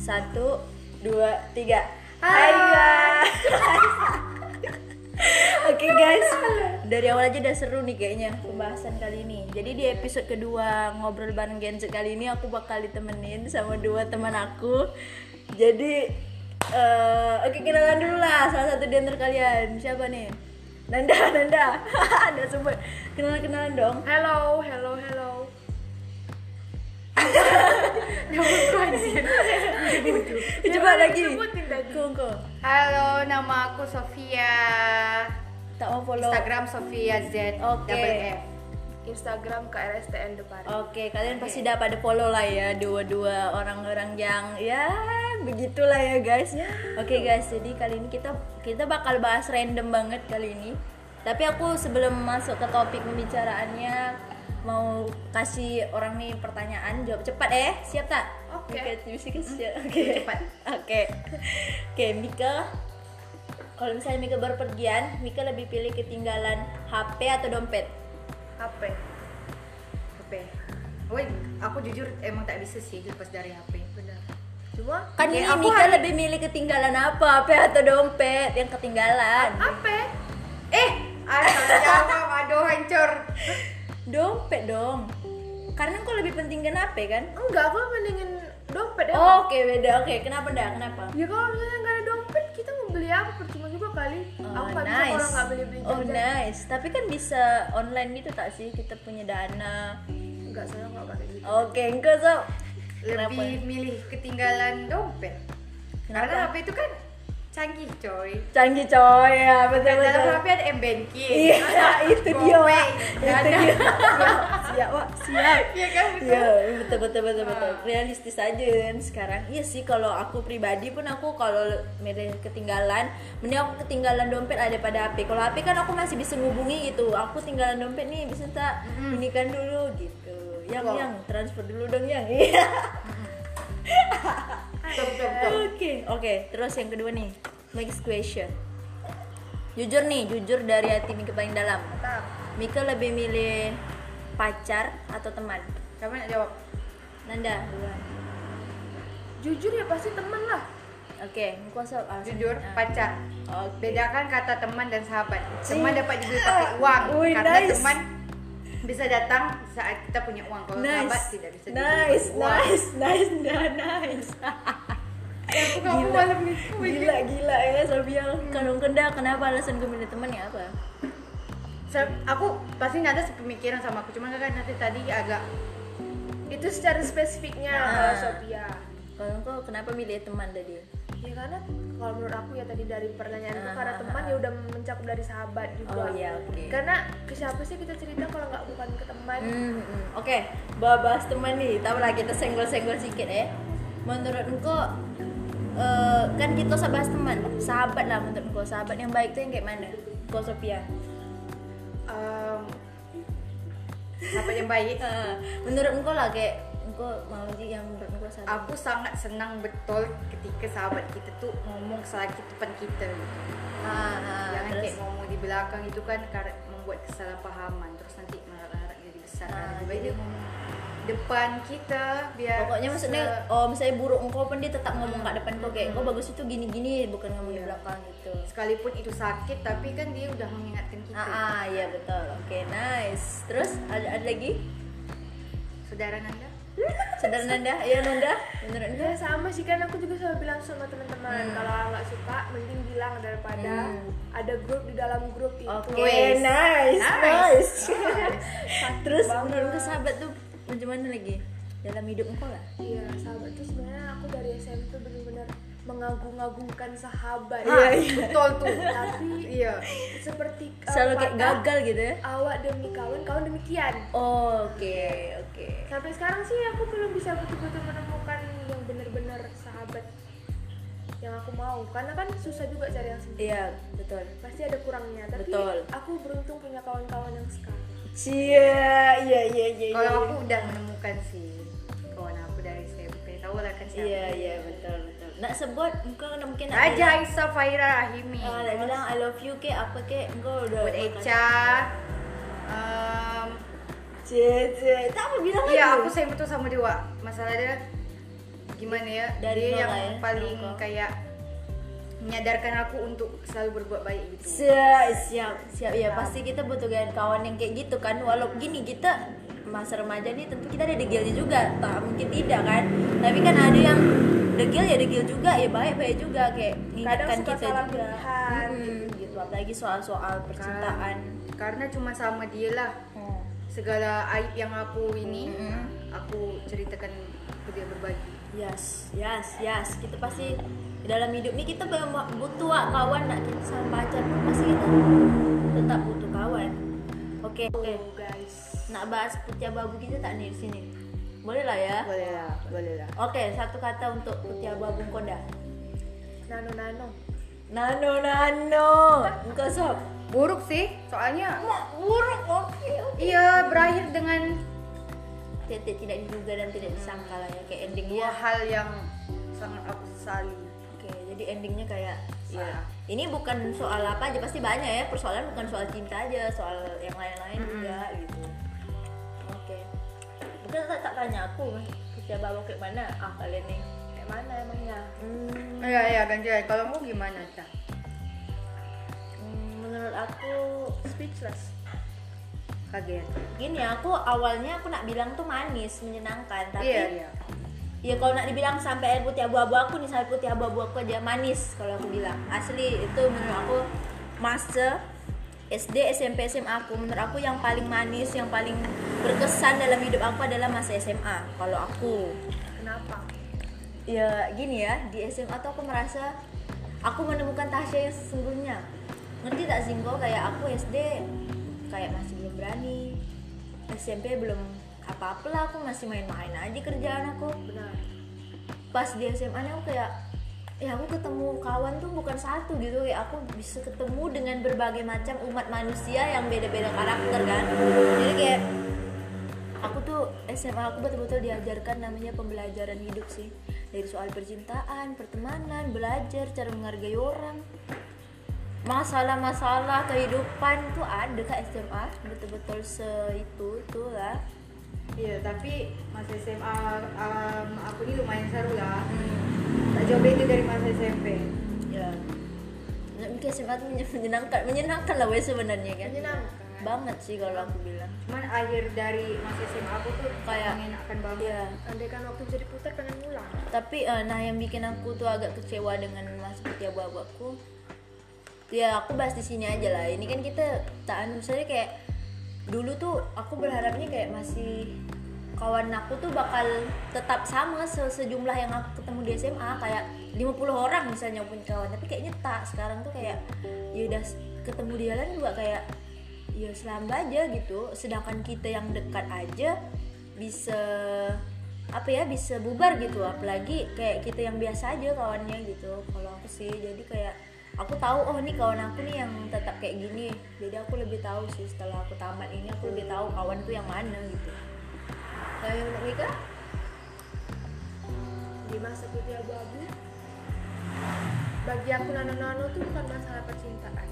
Satu, dua, tiga. Hai guys. Oke guys, dari awal aja udah seru nih kayaknya pembahasan kali ini. Jadi di episode kedua ngobrol bareng Genset kali ini aku bakal ditemenin sama dua teman aku. Jadi eh, oke kenalan dulu lah salah satu di antara kalian. Siapa nih? Nanda, Nanda. Ada sebut. Kenalan-kenalan dong. Hello, hello, hello. Coba lagi. disebutin tadi. Kongko. Halo, nama aku Sofia. Tak mau follow. Instagram Sofia Z Oke. double F. Instagram KRSTN depan. Oke, kalian pasti udah pada follow lah ya dua-dua orang-orang yang ya begitulah ya guys. Oke guys, jadi kali ini kita kita bakal bahas random banget kali ini. Tapi aku sebelum masuk ke topik pembicaraannya mau kasih orang nih pertanyaan jawab cepat eh siap tak? Oke. Mika, bisa ke- siap. Ya, Oke. cepat. Oke. Oke, Mika. Kalau misalnya Mika berpergian, Mika lebih pilih ketinggalan HP atau dompet? HP. HP. Woi, aku jujur emang tak bisa sih lepas dari HP. Benar. Cuma Kan ya, ini aku Mika hari- lebih milih ketinggalan apa? HP atau dompet yang ketinggalan? HP. Eh, asal jawab aduh hancur. Dompet dong. Karena kau lebih pentingkan HP kan? Enggak, aku mendingin dompet ya. Oh, Oke beda, oke kenapa ndak? Kenapa? Ya kalau misalnya nggak ada dompet, kita mau beli apa? Percuma juga kali. aku nggak bisa kalau nggak beli beli Oh nice. Tapi kan bisa online gitu tak sih? Kita punya dana. Enggak, saya nggak pakai gitu. Oke, engkau sob. Kenapa? Lebih milih ketinggalan dompet. Karena ya? Kenapa? HP itu kan canggih, coy. Canggih coy ya, betul Dan betul. dalam HP ada M-Banking. Iya, itu dia, Wak. Itu Dana. dia. Siap, Siap, Wak. Siap. Iya kan betul. Iya, betul betul betul betul. Realistis aja kan sekarang. Iya sih kalau aku pribadi pun aku kalau milih ketinggalan, mending aku ketinggalan dompet ada pada HP. Kalau HP kan aku masih bisa ngubungi gitu. Aku tinggalan dompet nih bisa tak inikan dulu gitu. Yang Wow. yang transfer dulu dong yang. Iya. Betul, betul, betul. Oke, oke. Terus yang kedua nih, next question. Jujur nih, jujur dari hati Mika paling dalam. Mantap. Mika lebih milih pacar atau teman? Kamu nak jawab? Nanda, duluan. Jujur ya pasti temen lah. Oke, engkau sob alasan. Jujur, Ah. pacar. Oke. Bedakan kata teman dan sahabat. Cih. Teman dapat dibeli pakai uang Ui, karena nice. teman bisa datang saat kita punya uang. Kalau sahabat Nice. tidak bisa dibeli Nice, pakai uang. nice, nice, nah, nice. Eh, aku kamu kan. Gila. malam ni. Ui. gila, gila ya Sabia. Kalau kenda, kenapa alasan kau milih teman ya apa? Saya- aku pasti nada sepemikiran sama aku. Cuma kan nanti tadi agak Itu secara spesifiknya Ah. kalau Sophia. Kalau engkau kenapa milih teman tadi? Ya karena kalau menurut aku ya tadi dari pertanyaan itu Ah, karena ah, teman ah. ya udah mencakup dari sahabat Oh, juga. iya, oke. Karena ke siapa sih kita cerita kalau nggak bukan ke teman? Hmm, hmm. Oke, bahas teman nih. Tahu lah kita senggol-senggol sedikit ya. Menurut engkau eh, kan kita usah bahas teman, sahabat lah menurut engkau. Sahabat yang baik tuh yang kayak mana? Engkau Sophia. um, sahabat yang baik. Eh, menurut engkau lah kayak engkau mau sih yang menurut engkau sahabat. Aku sangat senang betul ketika sahabat kita tuh ngomong sakit depan kita. Ah, ah, Jangan terus kayak ngomong di belakang itu kan kar- membuat kesalahpahaman terus nanti marah-marah jadi besar. Ah, Lebih baik jadi- dia ngomong depan kita biar pokoknya se- maksudnya oh misalnya buruk engkau pun dia tetap ngomong kat depan kau kayak engkau bagus itu gini-gini bukan ngomong di Iya. belakang gitu. sekalipun itu sakit tapi kan dia udah mengingatkan kita. Ah, ah, iya betul. Oke, nice. Terus ada ada lagi? Saudara Nanda? Saudara Nanda, ya Nanda, menurut engkau? Ya sama sih kan aku juga selalu bilang sama teman-teman kalau nggak suka mending bilang daripada Hmm. ada grup di dalam grup itu. Oke, Wes. nice, nice. Nice. Sakit Terus banget. menurut ke sahabat tuh bagaimana lagi dalam hidup engkau lah? Iya sahabat tuh sebenarnya aku dari SMP benar-benar mengagung-agungkan sahabat. Ah, Betul tuh. Tapi iya. seperti uh, Selalu kayak patah, gagal gitu ya? Awak demi kawan, kawan demi kian. Oh, Oke, oke. Sampai sekarang sih aku belum bisa betul-betul menemukan yang benar-benar sahabat yang aku mau. Karena kan susah juga cari yang sendiri. Iya, betul. Pasti ada kurangnya, tapi Betul. aku beruntung punya kawan-kawan yang sekarang. Cia, iya iya iya. Kalau aku udah menemukan sih kawan aku dari SMP. Tahu lah kan siapa. Iya iya betul betul. Nak sebut engkau nak mungkin nak Raja Aisyah Faira Rahimi. bilang- Ah, nak bilang I love you ke apa ke engkau udah. Buat Echa. Um, Cie cie. Tak mau bilang Iya, Ya, lagi. aku sayang betul sama dia, Wak. Masalah dia gimana ya Dari nol dia yang lah ya, paling nol kok. kayak menyadarkan aku untuk selalu berbuat baik gitu siap siap siap ya pasti kita butuh gaya- kawan yang kayak gitu kan walau gini kita masa remaja nih tentu kita ada degilnya juga tak mungkin tidak kan tapi kan ada yang degil ya degil juga ya baik baik juga kayak Kadang mengingatkan suka kita salah juga pilihan, Mm-mm, gitu apalagi soal-soal percintaan karena cuma sama dia lah Kan. Hmm. segala aib yang aku ini Mm-mm. aku ceritakan ke dia berbagi Yes, yes, yes. Kita pasti dalam hidup ini kita memang butuh ah, kawan nak kita sama pacar pun pasti kita tetap butuh kawan. Oke, oke. guys Nak bahas Putia Babu kita tak nih di sini. Boleh lah ya. boleh lah boleh lah Oke, satu kata untuk Putia Babu Konda. nano nano Nano nano. Engkau sob. buruk sih soalnya Buruk, oke. iya berakhir dengan Tidak tidak diduga dan tidak disangka lah ya kayak endingnya. dua hal yang sangat aku sesali Oke, jadi endingnya kayak Iya. ya, ini bukan soal apa aja pasti banyak ya persoalan bukan soal cinta aja soal yang lain-lain juga gitu. Oke, bukan tak, tak tanya aku kerja bawa kayak mana ah kalian nih. kayak mana emangnya Hmm, iya iya gantian kalau kamu gimana cah hmm, menurut aku speechless kaget gini ya, aku awalnya aku nak bilang tuh manis menyenangkan tapi iya iya Ya kalau nak dibilang sampai air putih abu-abu aku nih sampai putih abu-abu aku aja manis kalau aku bilang asli itu menurut aku masa SD SMP SMA aku menurut aku yang paling manis yang paling berkesan dalam hidup aku adalah masa SMA kalau aku kenapa ya gini ya di SMA tuh aku merasa aku menemukan Tasya yang sesungguhnya ngerti tak sih kok kayak aku SD kayak masih belum berani SMP belum apa-apalah aku masih main-main aja kerjaan aku benar pas di SMA nih aku kayak ya aku ketemu kawan tuh bukan satu gitu kayak aku bisa ketemu dengan berbagai macam umat manusia yang beda-beda karakter kan jadi kayak aku tuh SMA aku betul-betul diajarkan namanya pembelajaran hidup sih dari soal percintaan pertemanan belajar cara menghargai orang masalah-masalah kehidupan tuh ada ke SMA betul-betul se itu itulah iya tapi masa SMA um, aku ini lumayan seru lah tak jauh beda dari masa SMP ya mungkin SMA tuh menyen- menyenangkan menyenangkan lah wes sebenarnya kan Menyenangkan. banget sih kalau aku bilang cuman akhir dari masa SMA aku tuh Kayak- mengenakan banget ya andai kan waktu bisa diputar pengen ngulang tapi eh, nah yang bikin aku tuh agak kecewa dengan mas Seperti abu aku ya aku bahas di sini aja lah ini kan kita tak anu misalnya kayak dulu tuh aku berharapnya kayak masih kawan aku tuh bakal tetap sama se- sejumlah yang aku ketemu di SMA kayak 50 orang misalnya punya kawan tapi kayaknya tak sekarang tuh kayak ya udah s- ketemu di jalan juga kayak ya selamba aja gitu sedangkan kita yang dekat aja bisa apa ya bisa bubar gitu apalagi kayak kita yang biasa aja kawannya gitu kalau aku sih jadi kayak aku tahu oh nih kawan aku nih yang tetap kayak gini jadi aku lebih tahu sih setelah aku tamat ini aku lebih tahu kawanku yang mana gitu kalau yang untuk Mika di masa putih abu-abu bagi aku nano nano tuh bukan masalah percintaan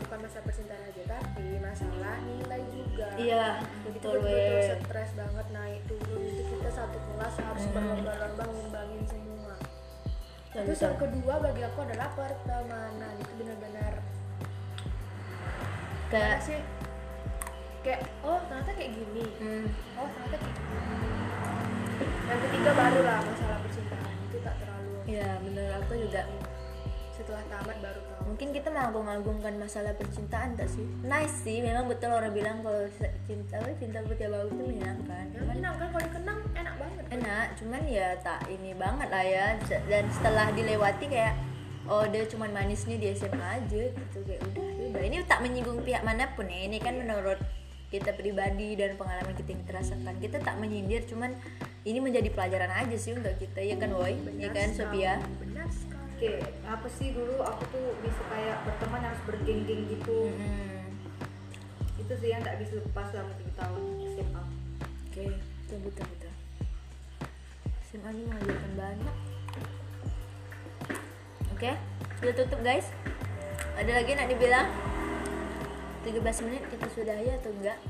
bukan masalah percintaan aja tapi masalah nilai juga iya begitu betul betul weh stres banget naik turun itu kita satu kelas harus berlomba-lomba ngembangin semua Betul, terus betul. yang kedua bagi aku adalah pertemanan itu benar-benar kayak sih kayak oh ternyata kayak gini hmm, oh ternyata kayak gini yang ketiga barulah masalah percintaan itu tak terlalu ya menurut aku juga setelah tamat baru tahu mungkin kita mengagung-agungkan masalah percintaan tak sih nice sih memang betul orang bilang kalau se- cinta apa, cinta putih bau itu menyenangkan yang cuman kenang kan kalau dikenang enak banget enak cuman ya tak ini banget lah ya Se- dan setelah dilewati kayak oh dia cuman manisnya di SMA aja gitu kayak udah ya udah ini tak menyinggung pihak manapun ya ini kan menurut kita pribadi dan pengalaman kita yang kita rasakan kita tak menyindir cuman ini menjadi pelajaran aja sih untuk kita ya kan Boy ya kan Sophia benar sekali Oke, apa sih dulu aku tuh bisa kayak berteman harus bergeng-geng gitu. Hmm. Itu sih yang tak bisa lepas selama 7 tahun SMA. Oke, betul betul betul. SMA ini mengajarkan banyak. Oke, sudah tutup guys. Ada lagi nak dibilang? 13 menit kita sudahi ya atau enggak?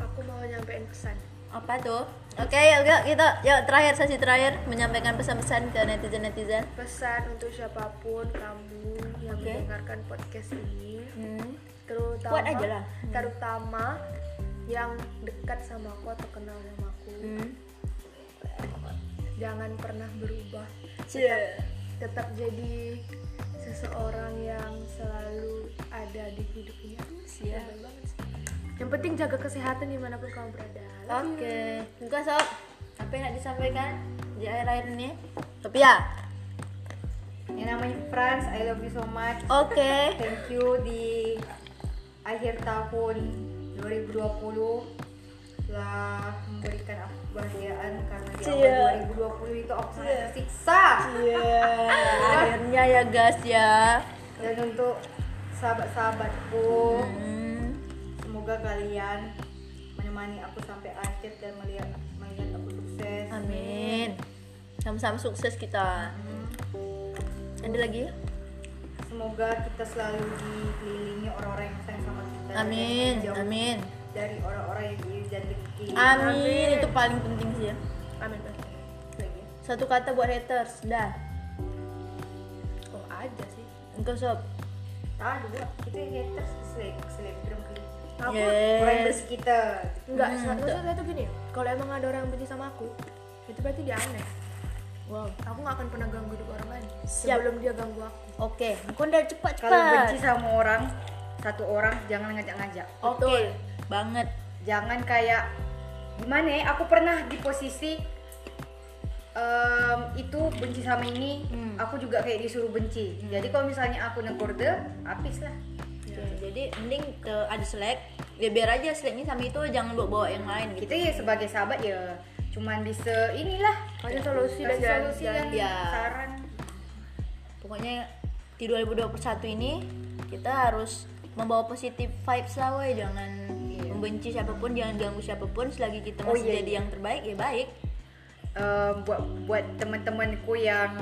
aku mau nyampein pesan apa tuh oke yuk, yuk kita yuk terakhir sesi terakhir menyampaikan pesan-pesan ke netizen netizen pesan untuk siapapun kamu yang Oke. mendengarkan podcast ini hmm. terutama Kuat aja lah. Hmm. terutama yang dekat sama aku atau kenal sama aku Hmm. jangan pernah berubah Cie. tetap jadi seseorang yang selalu ada di hidupnya Siap. Keren banget sih. yang penting jaga kesehatan dimanapun kamu berada Love you. Oke, enggak sob. Apa yang nak disampaikan di akhir-akhir ini? Tapi ya, Yang namanya Franz, I love you so much. oke. Thank you di akhir tahun 2020 telah memberikan aku kebahagiaan karena di Iya. awal 2020 itu aku sangat tersiksa. Akhirnya ya guys ya. Dan untuk sahabat-sahabatku, Hmm. semoga kalian menemani aku sampai akhir dan melihat melihat aku sukses. Amin. Sama-sama sukses kita. Hmm. Ada lagi? ya? Semoga kita selalu dikelilingi orang-orang yang sayang sama kita. Amin. Jauh Amin. Dari orang-orang yang iri dan dengki. Amin. Itu paling penting sih ya. amin Bang. Lagi. Satu kata buat haters. Dah. oh aja sih Enggak sob. Ah, dua. Kita yang haters seleb selebgram kali. Aku- Orang yang Yes. bersekitar. Enggak, Hmm, sa- betul. maksud saya tuh gini, kalau emang ada orang yang benci sama aku, itu berarti dia aneh. Wow. Aku nggak akan pernah ganggu hidup orang lain Siap. sebelum dia ganggu aku. Oke, kau udah cepat-cepat. Kalau benci sama orang, satu orang jangan ngajak-ngajak. Oke. Banget. Jangan kayak gimana ya? Aku pernah di posisi em, itu benci sama ini, Hmm. aku juga kayak disuruh Hmm. benci. Jadi kalau misalnya aku negur dia, habis lah. Oke, jadi mending ke ada selek ya biar aja seleknya sama itu jangan bawa bawa yang lain gitu Kita ya sebagai sahabat ya cuman bisa inilah Kasih solusi dan kasih jalan- solusi jalan- dan ya. saran. pokoknya di 2021 ini kita harus membawa positif vibes lah woy. jangan membenci siapapun jangan ganggu siapapun selagi kita Iya. Oh, masih iya, jadi iya. yang terbaik ya baik Em, um, buat buat teman-temanku yang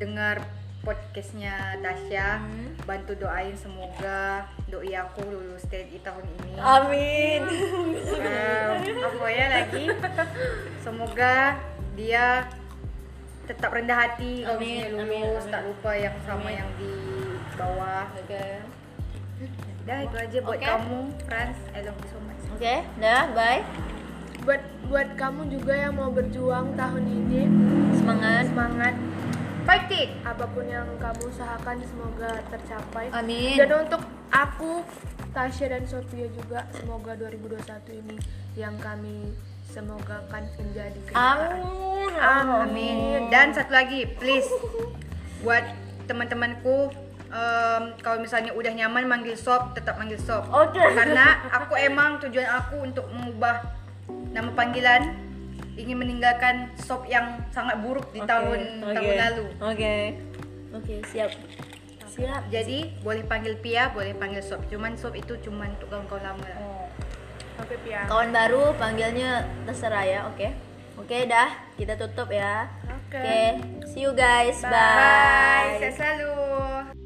dengar podcastnya Tasya Hmm. bantu doain semoga doi aku lulus TNI tahun ini Oh. amin Em, apa ya lagi semoga dia tetap rendah hati kalau Amin, misalnya amin, lulus amin. tak lupa yang sama Amin. yang di bawah oke dah itu aja buat Oke. kamu Franz I love you so much oke dah bye Buat buat kamu juga yang mau berjuang tahun ini, semangat semangat. fighting Apapun yang kamu usahakan semoga tercapai. Amin. Dan untuk aku, Tasya dan Sofia juga semoga 2021 ini yang kami semogakan menjadi kenyataan. amin Amin. Dan satu lagi, please buat teman-temanku em, kalau misalnya udah nyaman manggil sob, tetap manggil sob. Oke. Karena aku emang tujuan aku untuk mengubah nama panggilan ingin meninggalkan sob yang sangat buruk di Oke, tahun oke. tahun lalu. oke oke siap siap Jadi boleh panggil Pia, boleh panggil sob. Cuman sob itu cuman untuk kawan-kawan lama. lah. Oke, Pia. Oke. kawan baru panggilnya terserah ya oke oke dah kita tutup ya oke see you guys Bye, bye. sehat selalu.